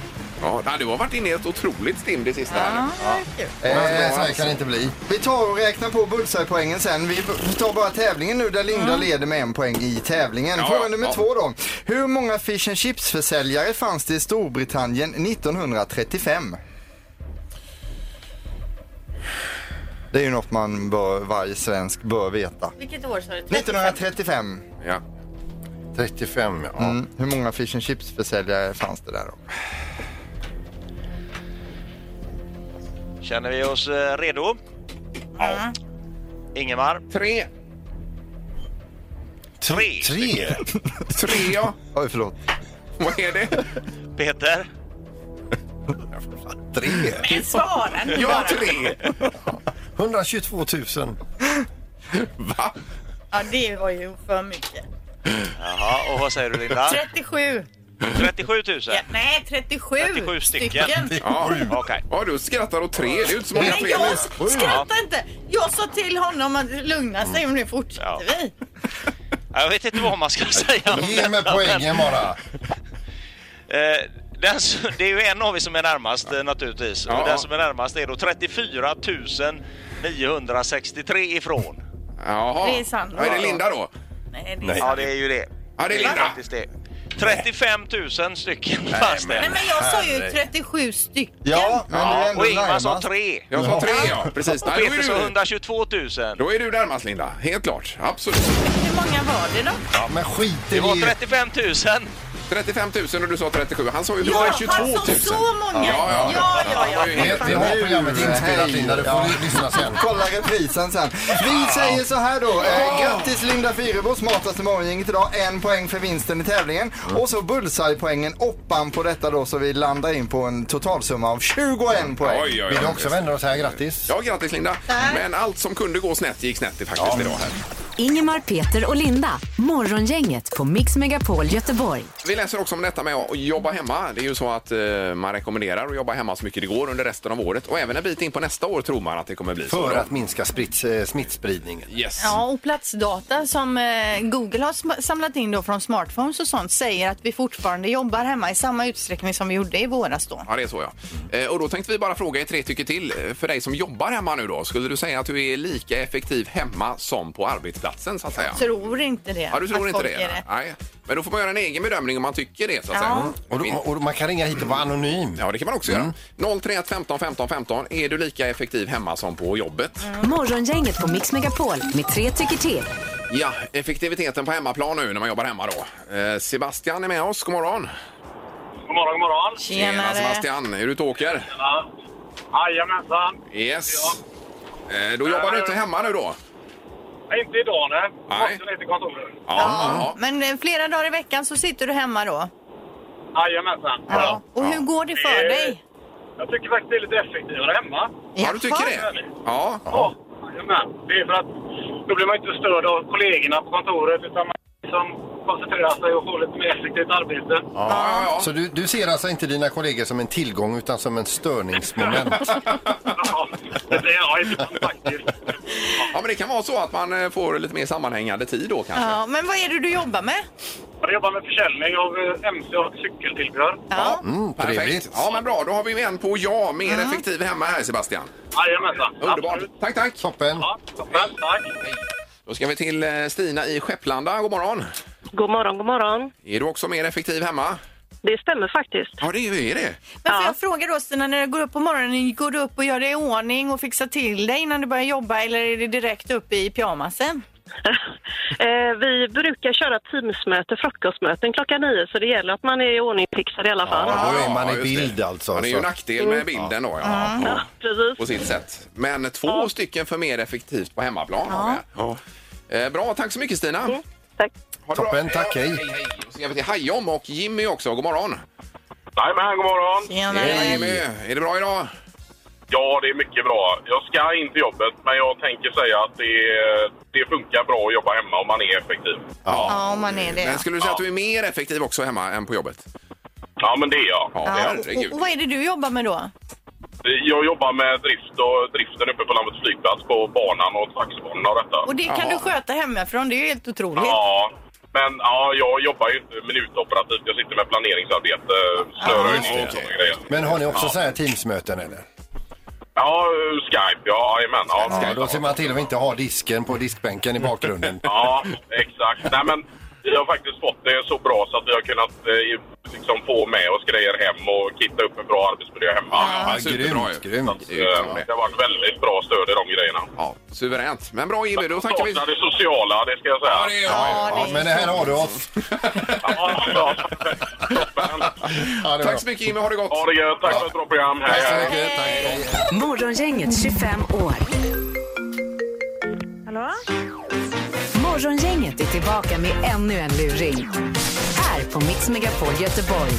B: Ja, nej, du har varit inne i ett otroligt stim det sista. här nu.
D: Eh,
E: Eh,
D: Så här kan det inte bli.
E: Vi tar och räknar på bullseye-poängen sen. Vi b- tar bara tävlingen nu där Linda leder med en poäng i tävlingen.
B: Ja,
E: Fråga
B: ja,
E: nummer
B: ja.
E: två då. Hur många fish and chips-försäljare fanns det i Storbritannien 1935? Det är ju något man bör, varje svensk bör veta.
I: Vilket år sa du?
E: 1935.
D: 35, ja.
E: Mm. Hur många fish and chips-försäljare fanns det där då?
K: Känner vi oss eh, redo? Ja. Ingemar,
B: Ja. Tre.
K: tre.
D: Tre?
B: Tre, ja.
E: Oj, förlåt.
B: Vad är det?
K: Peter,
D: Tre?
I: Men svara nu
B: Ja,
I: bara.
B: tre!
D: 122 000.
B: Va?
I: Ja, det var ju för mycket.
K: Jaha, och vad säger du Linda?
I: 37.
K: 37 000?
I: Ja, nej, 37,
K: 37 stycken. Ja,
B: Ja,
K: okej.
B: ja, du skrattar åt tre. Det är ju inte så många
I: Men
B: fler.
I: jag skratta inte! Jag sa till honom att lugna sig och nu fortsätter vi.
K: Ja, Jag vet inte vad man ska säga om
D: Ge mig
K: detta,
D: poängen
K: men-
D: bara.
K: Eh, Den, s- det är ju en av er som är närmast eh, naturligtvis.
B: Ja.
K: Och den som är närmast är då 34 963 ifrån.
B: Jaha.
I: Det är sant.
B: Ja, är det Linda då?
I: Nej, det är
D: Nej.
K: Ja, det är ju det.
B: Ja, det är Linda.
K: faktiskt det. 35 000 stycken fastställda.
I: Nej, men jag sa ju 37 stycken.
E: Ja, men det är
K: Ja,
E: ändå
K: och Ingmar sa
E: närmast.
K: tre.
B: Jag sa tre, ja. Precis.
K: Och
B: Nej, då,
K: Peter sa
B: är du,
K: 122 000.
B: då är du närmast, Linda. Helt klart. Absolut.
I: Hur många var det då?
D: Ja, men skit i
K: Det var
D: det.
K: 35 000.
B: 35 000 och du sa 37. Han sa ju
I: Ja,
B: 122 000.
I: han sa så många.
B: Ja, ja,
I: Ja, ja,
B: Han var ju
I: ja.
B: helt-
D: Vi har programmet inspelat, Linda. Du får
E: Ja.
D: lyssna sen.
E: Kolla reprisen sen. Vi säger så här då. Eh, grattis Linda Fyrebo, smartaste morgongänget idag. En poäng för vinsten i tävlingen.
B: Mm.
E: Och så bullseye-poängen oppan på detta då så vi landar in på en totalsumma av 21 poäng.
B: Oj, oj,
D: Vill du
B: oj.
D: också vända oss här? Grattis.
B: Ja, grattis Linda. Men allt som kunde gå snett gick snett i faktiskt idag här.
A: Ingemar, Peter och Linda. Morgongänget på Mix Megapol Göteborg.
B: Vi läser också om detta med att jobba hemma. Det är ju så att eh, man rekommenderar att jobba hemma så mycket det går under resten av året och även en bit in på nästa år tror man att det kommer bli så.
D: För
B: då.
D: att minska spritt, eh, smittspridningen.
B: Yes.
C: Ja, och platsdata som eh, Google har sm- samlat in då från smartphones och sånt säger att vi fortfarande jobbar hemma i samma utsträckning som vi gjorde i våras då.
B: Ja, det är så ja. Eh, Och då tänkte vi bara fråga er tre tycker till. Eh, För dig som jobbar hemma nu då, skulle du säga att du är lika effektiv hemma som på arbetsplatsen så att säga?
C: Tror inte det.
B: Ja, du tror
C: att
B: inte
C: folk
B: det?
C: är
B: Nej. Men då får man göra en egen bedömning om man tycker det så att
C: Ja.
D: Och, då,
B: säga.
D: och man kan ringa hit och vara anonym.
B: Ja, det kan man också
D: Mm.
B: göra. 031 15 15 15. Är du lika effektiv hemma som på jobbet?
A: Morgongänget på Mix Megapol med tre tycker till.
B: Ja, effektiviteten på hemmaplan nu när man jobbar hemma då. Eh, Sebastian är med oss, god morgon.
F: God morgon, god morgon.
B: Tjena
I: Tjenare.
B: Sebastian, är du ute och åker?
F: Ja. Jajamensan.
B: Yes. Eh, då jobbar du inte hemma nu då?
F: Nej, Inte idag, nej.
B: Nej.
F: Måste ner till kontoret.
B: Ja. ja.
C: Men eh, flera dagar i veckan så sitter du hemma då?
F: Jajamensan.
C: Ja. Och hur går det för
F: Eh,
C: dig?
F: Jag tycker faktiskt det är lite effektivare hemma.
B: ja, du tycker
C: Jaha.
B: det? Ja.
F: Ja. Jajamän. Det är för att då blir man inte störd av kollegorna på kontoret utan man liksom koncentrerar sig och får lite mer effektivt arbete.
B: Ja, ja, ja.
D: Så du, du ser alltså inte dina kollegor som en tillgång utan som en störningsmoment?
F: Ja, det är jag ibland faktiskt.
B: ja, men det kan vara så att man eh, får lite mer sammanhängande tid då kanske.
C: Ja, men vad är det du jobbar med?
F: Jag jobbar med försäljning av eh, MC och cykeltillbehör.
C: Ja.
D: Mm,
B: Perfekt.
D: trevligt.
B: Ja, men bra. Då har vi ju en på ja, mer effektiv hemma här Sebastian.
F: Jajamensan.
B: Underbart.
F: Absolut.
B: Tack, tack.
D: Toppen.
F: Ja, toppen. Tack.
B: Då ska vi till eh, Stina i Skepplanda. God morgon.
H: God morgon, god morgon.
B: Är du också mer effektiv hemma?
H: Det stämmer faktiskt.
B: Ja, det är det.
C: Men får
H: Ja.
C: jag fråga då Stina, när du går upp på morgonen, går du upp och gör dig i ordning och fixar till dig innan du börjar jobba eller är det direkt upp i pyjamasen?
H: Eh, Vi brukar köra teamsmöte, frukostmöten klockan nio så det gäller att man är i ordning fixad i alla fall.
D: då är man i
B: just det.
D: bild alltså,
B: Ja, det är ju en
D: så.
B: nackdel
C: Mm.
B: med bilden då. Ja, på,
H: Ja, precis.
B: på sitt sätt. Men två stycken för mer effektivt på hemmaplan. har vi här. Ja. Eh, Bra, tack så mycket Stina.
C: Mm,
H: Tack.
B: Ha det
D: Toppen,
B: bra.
D: tack, hej.
B: hej, hej. Då ska vi till Hajom och Jimmy också. God morgon.
F: Jajamän, god morgon.
C: Tjenare.
B: Jimmy, är det bra idag?
F: Ja, det är mycket bra. Jag ska in till jobbet, men jag tänker säga att det, det funkar bra att jobba hemma om man är effektiv.
C: Ja, om man är det.
B: Men skulle du säga att du är mer effektiv också hemma än på jobbet?
F: Ja, men det är jag.
B: Ja,
C: Ja, och,
B: herregud.
C: och vad är det du jobbar med då?
F: Jag jobbar med drift och driften uppe på Landvetter flygplats på banan och taxibanorna och detta.
C: Och det kan
B: Jaha.
C: du sköta hemifrån, det är ju helt otroligt.
F: Ja, men ja, jag jobbar ju inte minutoperativt. Jag sitter med planeringsarbete, snöröjning och
B: Okej.
F: sådana grejer.
D: Men har ni också så här teamsmöten eller?
F: Ja, Skype. Ja, jajamän. Ja,
D: Ja,
F: Skype.
D: då ser man till att inte ha disken på diskbänken i bakgrunden.
F: Ja, exakt. Nej, men vi har faktiskt fått det så bra så att vi har kunnat eh, liksom få med oss grejer hem och kitta upp en bra arbetsmiljö hemma.
B: Ja, superbra ju.
D: grymt, grymt.
B: Det är ju
F: Eh,
B: kanon det.
F: Det har varit väldigt bra stöd i de grejerna.
B: Ja, suveränt. Men bra Jimmy, då tackar vi.
F: Saknar det sociala, det ska jag säga.
B: Ja, det gör vi.
D: Ja, men det här har du oss.
F: Ja, ja. Toppen.
D: Ja, det är bra.
B: Tack så mycket Jimmy, ha det gott.
F: Ha det gött. Tack för ett bra program. Hej, hej.
D: mycket. Tack.
A: Morgongänget 25 år.
H: Hallå?
A: Morgongänget är tillbaka med ännu en luring. Här på Mix Megapol Göteborg.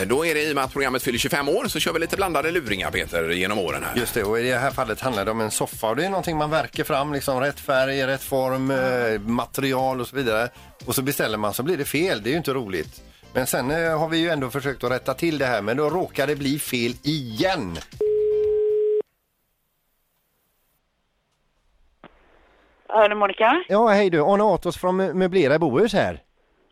B: Eh, Då är det i och med att programmet fyller 25 år så kör vi lite blandade luringar Peter genom åren här.
L: Just det, och i det här fallet handlar det om en soffa och det är någonting man verkar fram, liksom rätt färg, rätt form, eh, material och så vidare. Och så beställer man så blir det fel, det är ju inte roligt. Men sen eh, har vi ju ändå försökt att rätta till det här, men då råkar det bli fel igen.
M: Hörde Monica?
D: Ja, hej du. Arne Atos från Mö- Möblera Bohus här.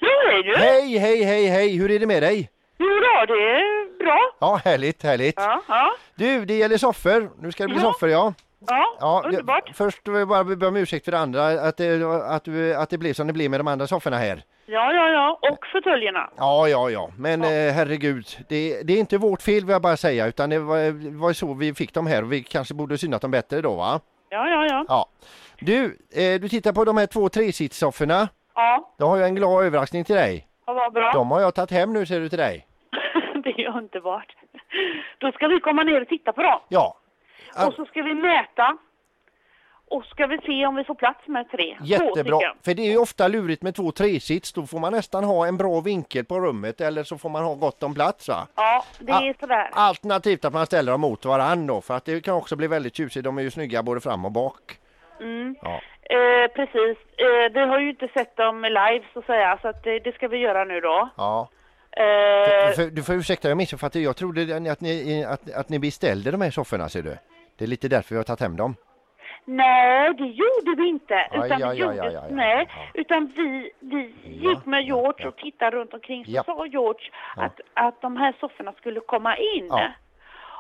M: Hej du!
D: Hej, hej, hej, hej! Hur är det med dig?
M: Jo då, det är bra.
D: Ja, härligt, härligt.
M: Ja, ja.
D: Du, det gäller soffor. Nu ska det bli
M: Ja.
D: soffor, ja.
M: Ja,
D: Ja,
M: underbart.
D: Jag, först vill jag bara be om ursäkt för det andra, att det, att, du, att det blev som det blev med de andra sofforna här.
M: Ja, ja, ja. Och fåtöljerna.
D: Ja, ja, ja, men Eh, herregud, det, det är inte vårt fel vill jag bara säga, utan det var, det var så vi fick dem här och vi kanske borde synat dem bättre då, va?
M: Ja, ja, ja.
D: Ja. Du, eh, du tittar på de här två tresitssofforna.
M: Ja,
D: Då har jag en glad överraskning till dig.
M: ja vad bra.
D: De har jag tagit hem nu ser du till dig.
M: Det är ju underbart. Då ska vi komma ner och titta på dem.
D: Ja,
M: Och så ska vi mäta. Och så ska vi se om vi får plats med tre. Två
D: jättebra.
M: stycken.
D: För det är ju ofta lurigt med två tresits. Då får man nästan ha en bra vinkel på rummet eller så får man ha gott om plats va?
M: Ja, det
D: Ja.
M: är sådär.
D: Alternativt att man ställer dem mot varandra då, för att det kan också bli väldigt tjusigt. De är ju snygga både fram och bak.
M: Mm.
D: Ja.
M: Eh, precis. Eh, vi har ju inte sett dem live så att säga, så att det, det ska vi göra nu då.
D: ja.
M: Eh,
D: Du, får- du får ursäkta, jag missuppfattade. Jag trodde att ni, att, att ni beställde de här sofforna ser du. Det är lite därför vi har tagit hem dem.
M: Nej, det gjorde vi inte.
D: Aj,
M: Utan
D: aj, aj,
M: vi gjorde,
D: aj, aj, aj.
M: nej, utan vi, vi gick med George och tittade runt omkring. Så
D: Ja.
M: sa George
D: Ja.
M: att, att de här sofforna skulle komma in.
D: Ja.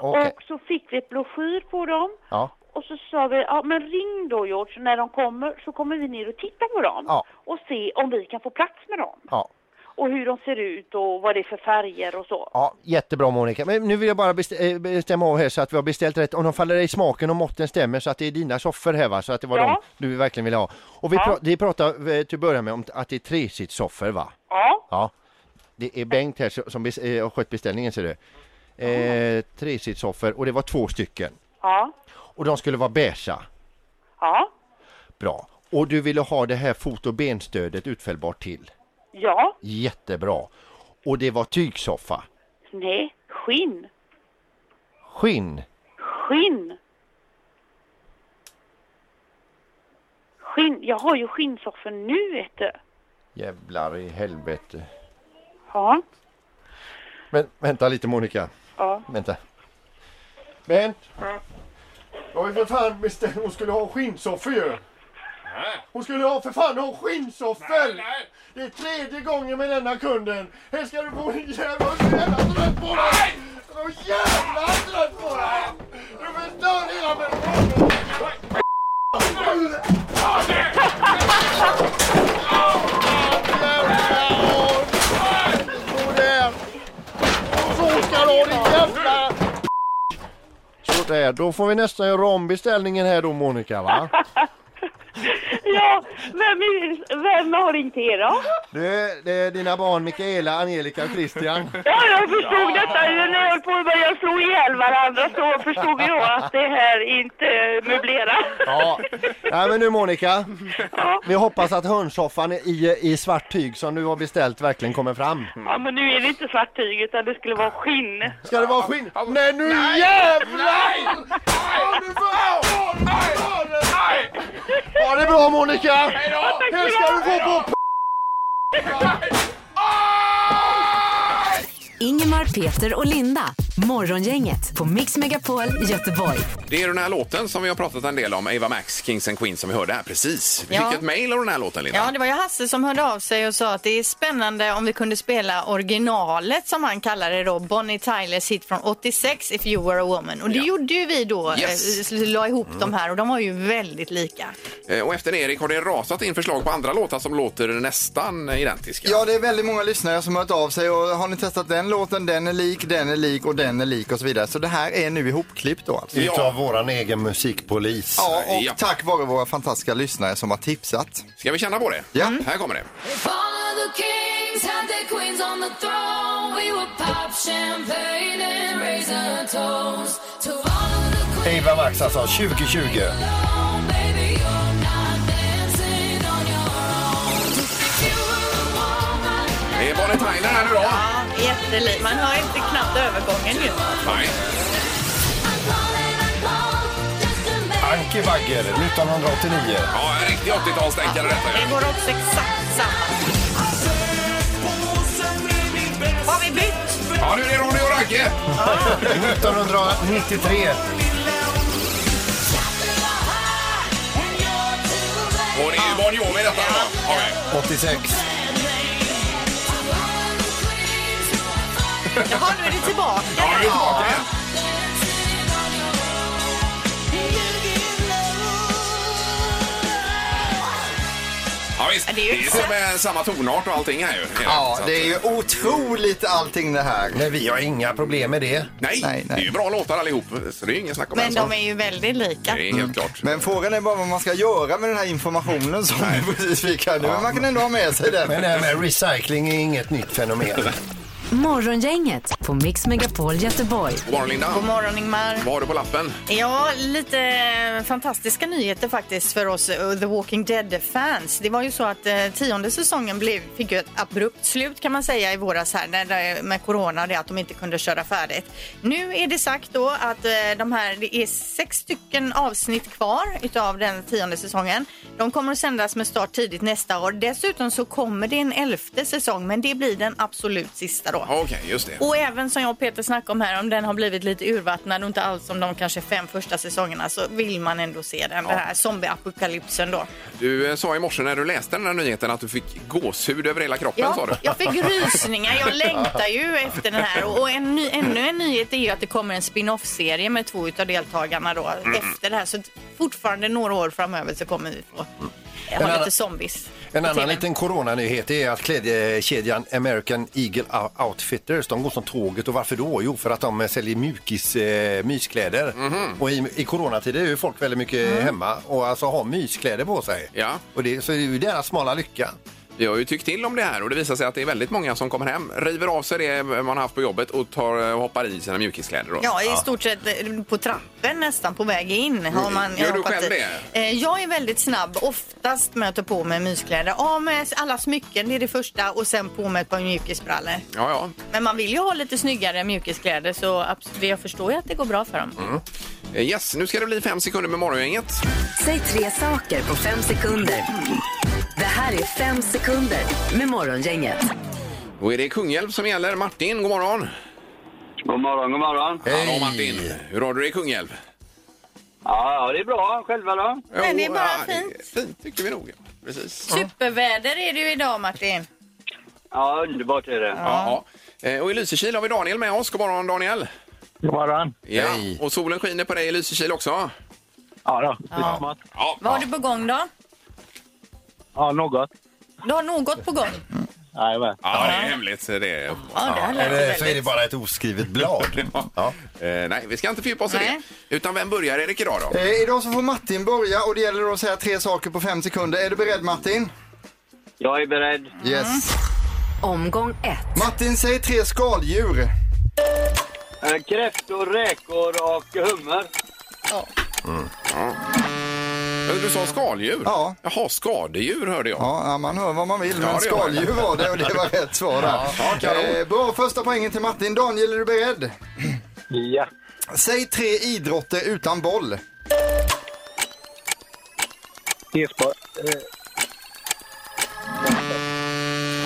D: Okej.
M: Och så fick vi ett broschyr på dem.
D: Ja.
M: Och så sa vi, ja men ring då George, när de kommer så kommer vi ner och titta på dem.
D: Ja.
M: Och se om vi kan få plats med dem.
D: Ja.
M: Och hur de ser ut och vad det är för färger och så.
D: Ja, jättebra Monica. Men nu vill jag bara best- eh, bestämma av här så att vi har beställt rätt. Om de faller i smaken och måtten stämmer så att det är dina soffor här va? Så att det var
M: Ja.
D: dem du verkligen ville ha. Och vi,
M: Ja.
D: pra- vi pratar eh, till att börja med om t- att det är tresitssoffor va?
M: Ja.
D: Ja. Det är Bengt här som- som bes- eh, har skött beställningen ser du. Eh, tresitssoffor och det var två stycken.
M: Ja.
D: Och de skulle vara beiga.
M: Ja.
D: Bra. Och du ville ha det här fot och benstödet utfällbart till.
M: Ja.
D: Jättebra. Och det var tygsoffa.
M: Nej. Skinn.
D: Skinn.
M: Skinn. Skinn. Jag har ju skinnsoffor nu vet du.
D: Jävlar i helvete.
M: Ja.
D: Men vänta lite Monica.
M: Ja.
D: Vänta. Bent! Jag har ju för fan beställt, hon skulle ha skinnsoffor ju. Hon skulle ha för fan ha skinnsoffor! Det är tredje gången med denna kunden. Här ska du få en jävla jag är så jävla trött på dig! Jag är så jävla trött på dig! Du förstör hela min Sådär! Så ska du ha din jävla... Sådär, då får vi nästan göra om beställningen här då Monica va?
M: Ja, vem, är, vem har ringt er då?
D: Det, det är dina barn Mikaela, Angelica och Christian.
M: Ja, jag förstod detta ju när jag höll på att börja slå ihjäl varandra så förstod jag att det här inte möblerar.
D: Ja. Nej men nu Monica, vi hoppas att hörnsoffan i, i svart tyg som du har beställt verkligen kommer fram.
M: Ja, men nu är det inte svart tyg utan det skulle vara skinn.
D: Ska det vara skinn? Nej nu
M: Nej!
D: jävlar!
M: Nej!
D: Ha det bra Monica!
M: Hej då! Ja, tack
D: Här
M: ska
D: ska
M: du
D: du få på
A: Ingemar, Peter och Linda. Morgongänget på Mix Megapol Göteborg.
B: Det är den här låten som vi har pratat en del om, Eva Max, Kings and Queens, som vi hörde här precis. Vi
C: Ja.
B: fick ett mejl av den här låten, Linda.
C: Ja, det var ju Hasse som hörde av sig och sa att det är spännande om vi kunde spela originalet som han kallar det då, Bonnie Tylers hit från 86, If you were a woman. Och det gjorde ju vi då,
B: Yes.
C: eh, la ihop de här och de var ju väldigt lika.
B: Eh, Och efter Erik har det rasat in förslag på andra låtar som låter nästan identiska.
E: Ja, det är väldigt många lyssnare som har hört av sig och har ni testat den låten, den är lik, den är lik och den är lik och så vidare. Så det här är nu ihopklippt då alltså.
L: Utav våran egen musikpolis.
E: Ja, och tack vare våra fantastiska lyssnare som har tipsat.
B: Ska vi känna på det?
E: Ja.
B: Här kommer det.
N: If all of the kings had their queens on the throne, we would pop champagne and raise a toast to all of the
L: Eva Max alltså, 2020.
N: baby, you're not dancing on your own. If you were a woman,
B: Det är Bonnie Tyler här nu då.
C: Jätteliv. Man hör inte knappt övergången ju.
B: Nej.
D: Anki Bagger, 1989.
B: Ja, en riktig 80-talstänkare detta ju.
C: Det går också exakt samma. Har vi bytt?
B: Ja, nu är det Ronny och Ragge.
D: 1993.
B: Och det är ju Bon Jovi detta då. Okej.
D: 86.
C: Jaha, nu är det tillbaka.
B: Ja, nu är vi tillbaka igen. Ja, visst. Det är ju som eh, samma tonart och allting här ju.
E: Ja,
B: Så att-
E: det är ju otroligt allting det här.
D: Nej, vi har inga problem med det.
B: Nej, det är ju bra låtar allihop. Så det är ju ingen snack om
C: Men
B: den
C: de är ju väldigt lika.
B: Det är helt klart.
E: Men frågan är bara vad man ska göra med den här informationen som vi precis fick här nu. Men man kan ändå ha med sig den.
D: Men eh, det här med recycling är inget nytt fenomen.
A: Morgongänget på Mix Megapol Göteborg.
B: God morgon, Linda.
C: God morgon, Ingmar.
B: Vad har du på lappen?
C: Ja, lite eh, fantastiska nyheter faktiskt för oss eh, The Walking Dead-fans. Det var ju så att eh, tionde säsongen blev, fick ju ett abrupt slut kan man säga i våras här när det, med corona och det att de inte kunde köra färdigt. Nu är det sagt då att eh, de här, det är sex stycken avsnitt kvar utav den tionde säsongen. De kommer att sändas med start tidigt nästa år. Dessutom så kommer det en elfte säsong men det blir den absolut sista då.
B: Ja, Okej, just det.
C: Och även som jag och Peter snackade om här, om den har blivit lite urvattnad och inte alls som de kanske fem första säsongerna så vill man ändå se den, den här zombieapokalypsen då.
B: Du eh, sa i morse när du läste den här nyheten att du fick gåshud över hela kroppen, sa du.
C: Ja, jag fick rysningar, jag längtar ju efter den här. Och en ny, ännu en nyhet är ju att det kommer en spin-off-serie med två utav deltagarna då
D: Mm.
C: efter det här. Så fortfarande några år framöver så kommer vi få
D: En
C: ha
D: annan-
C: lite zombies.
D: En
C: på
D: annan
C: TV.
D: liten coronanyhet är att klädkedjan American Eagle Out- Outfitters, de går som tåget. Och varför då? Jo, för att de eh, säljer mjukis, eh, myskläder.
E: Mhm.
D: Och i, i coronatider är ju folk väldigt mycket
E: Mm.
D: hemma och alltså har myskläder på sig.
B: Ja.
D: Och det, så är det ju deras smala lycka.
B: Vi har ju tyckt till om det här och det visar sig att det är väldigt många som kommer hem, river av sig det man har haft på jobbet och tar, och hoppar i sina mjukiskläder. Då.
C: Ja, i stort sett eh, på trappen nästan på väg in. Har man
B: Mm. Gör du
C: hoppat
B: själv
C: i. Eh, Jag är väldigt snabb. Oftast möter på mig myskläder. Av med alla smycken, det är det första. Och sen på med ett par mjukisbrallor.
B: Ja, ja.
C: Men man vill ju ha lite snyggare mjukisglädje så absolut, jag förstår ju att det går bra för dem.
B: Eh, Yes, nu ska det bli fem sekunder med Morgongänget.
A: Säg tre saker på fem sekunder. Det här är fem sekunder med Morgongänget.
B: Då är det Kungälv som gäller. Martin, god morgon.
O: God morgon, god morgon.
B: Hallå Martin. Hur har du det i Kungälv?
O: Ja, ja, det är bra. Själva då?
C: Men det är bara fint.
B: Fint tycker vi nog. Precis.
C: Superväder är det ju idag Martin.
O: Ja, underbart är det.
B: Ja. ja. Eh, Och i Lysekil har vi Daniel med oss. God morgon Daniel.
O: God morgon.
B: Ja. Och solen skiner på dig i Lysekil också.
O: Ja, då.
B: Ja. Ja.
C: Vad har du på gång då?
O: ja något.
C: Du har något på gång?
O: Jajamän.
B: Ja, det är hemligt. Det är...
C: här lät
D: Eller så är det bara ett oskrivet blad. ja.
B: Eh, nej, vi ska inte fördjupa oss i
E: Nej.
B: det. Utan vem börjar Erik idag då?
E: Eh, idag så får Martin börja och det gäller då att säga tre saker på fem sekunder. Är du beredd Martin?
O: Jag är beredd.
E: Yes.
C: Mm.
A: Omgång ett.
E: Martin, säg tre skaldjur.
O: Eh, Kräftor, räkor och hummer.
B: Men Du sa skaldjur? Ja. Jaha, skadedjur hörde jag.
E: Ja, ja, man hör vad man vill, men
B: det gör
E: skaldjur
B: jag.
E: var det och det var rätt svar där.
B: Ja, kanon.
E: eh, bra, första poängen till Martin. Daniel, är du beredd?
O: Ja.
E: Säg tre idrotter utan boll.
O: E-sport.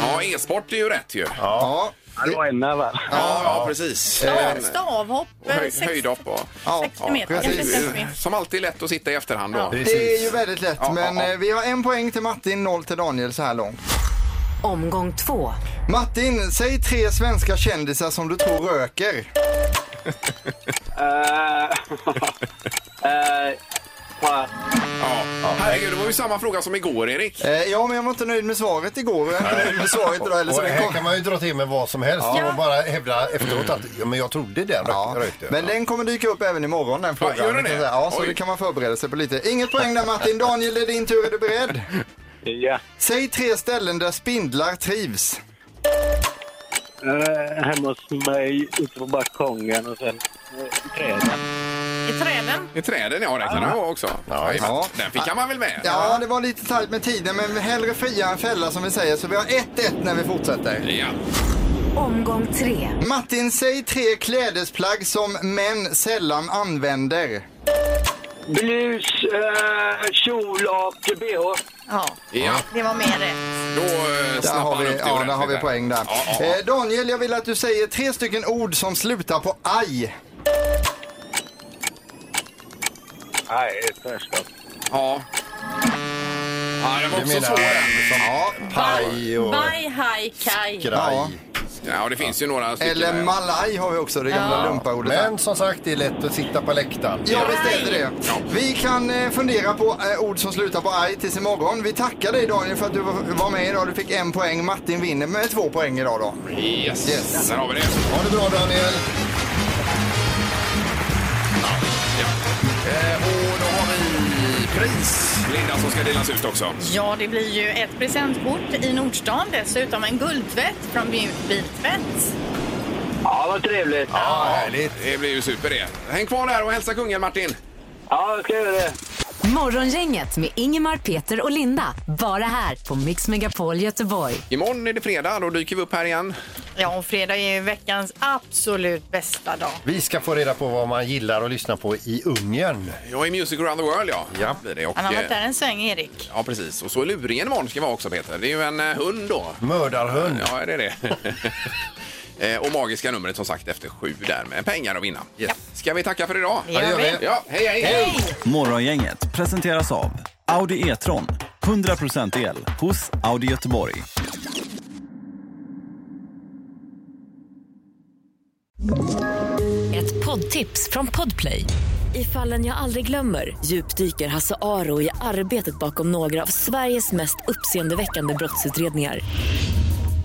B: Ja, e-sport är ju rätt ju.
E: Ja.
O: Det var en där, va?
B: Ja, ja precis.
C: Stav,
B: Eh,
C: stavhopp,
B: och höj,
C: 60
B: höjdhopp. Ja. Ja,
C: 60 meter,
B: precis.
C: kanske 60 meter.
B: Som alltid lätt att sitta i efterhand då.
E: Det är ju väldigt lätt,
B: Ja,
E: men
B: ja, ja.
E: eh, vi har en poäng till Martin, noll till Daniel så här långt.
A: Omgång två.
E: Martin, säg tre svenska kändisar som du tror röker.
O: Eh, eh, pass.
B: Ja. Herregud, det var ju samma fråga som igår Erik.
E: Eh, ja, men jag var inte nöjd med svaret igår och jag är inte nöjd med svaret idag heller. Så
D: Och
E: den
D: här
E: kom...
D: kan man ju dra till med vad som helst
E: Ja.
D: och bara hävda efteråt att ja, men jag trodde den ja. rökte.
E: Men den kommer dyka upp även imorgon den frågan.
D: gör den det?
E: Ja, så
D: Oj.
E: det kan man förbereda sig på lite. Inget poäng där Martin. Daniel, det är din tur. Är du beredd?
O: Ja.
E: Säg tre ställen där spindlar trivs.
O: Eh, hemma hos mig, ute på balkongen och sen eh, i träden.
C: I träden?
B: I träden, ja. Det kan det vara också. Ja,
E: ja.
B: Den fick man väl med?
E: Ja, det var lite tajt med tiden, men hellre fria än fälla som vi säger. Så vi har 1-1 när vi fortsätter.
B: Ja.
A: Omgång tre.
E: Martin, säg tre klädesplagg som män sällan använder.
M: Blus, eh, kjol och bh.
P: Ja,
B: Ja.
P: det var mer rätt.
B: Då eh,
E: Där
B: snappar
E: har
B: han upp
E: vi,
B: det
E: ja, där
B: ordentligt
E: har vi poäng där.
B: Ja, ja,
E: Eh, Daniel, jag vill att du säger tre stycken ord som slutar på aj.
M: Nej, tvärstopp.
B: Ja. Ja, det var
E: Du
B: också
E: menar-
B: svår.
E: Ja,
D: paj och
C: Bye, hi, kaj.
E: Ja.
B: Ja, och det finns ju några stycken.
E: Eller
B: där.
E: malaj har vi också, det gamla
D: Ja.
E: lumparordet. där.
D: Men som sagt, det är lätt att sitta på läktaren.
E: Ja, visst är det det. Vi kan eh, fundera på eh, ord som slutar på aj tills imorgon. Vi tackar dig Daniel för att du var- var med idag. Du fick en poäng. Martin vinner med två poäng idag då.
B: Yes.
E: Yes.
B: där har vi det.
D: Ha det bra Daniel.
B: Eh, och då har vi pris, Linda, som ska delas ut också.
C: Ja, det blir ju ett presentkort i Nordstan dessutom en guldtvätt från Mjuk Biltvätt.
M: Ja, vad trevligt.
B: Ja, härligt. Det blir ju super det. Häng kvar där och hälsa kungen, Martin.
M: Ja, jag ska göra det.
A: Morgongänget med Ingemar, Peter och Linda. Bara här på Mix Megapol Göteborg.
B: Imorgon är det fredag, då dyker vi upp här igen.
C: Ja, och fredag är ju veckans absolut bästa dag.
D: Vi ska få reda på vad man gillar att lyssna på i Ungern.
B: Jag är Music around the world, ja.
D: Ja.
B: Blir det. Och,
C: Han har varit
B: eh,
C: där en sväng, Erik.
B: Ja, precis. Och så är luringen imorgon ska vara också, Peter. Det är ju en eh, hund då.
D: Mördarhund.
B: Ja, det är det. Eh, och magiska numret som sagt efter sju där med pengar att vinna. Ska vi tacka för idag?
D: Ja, det gör vi.
B: Ja, hej, hej! hej.
N: Morgongänget presenteras av Audi E-tron. 100% el hos Audi Göteborg.
Q: Ett poddtips från Podplay. I fallen jag aldrig glömmer djupdyker Hasse Aro i arbetet bakom några av Sveriges mest uppseendeväckande brottsutredningar.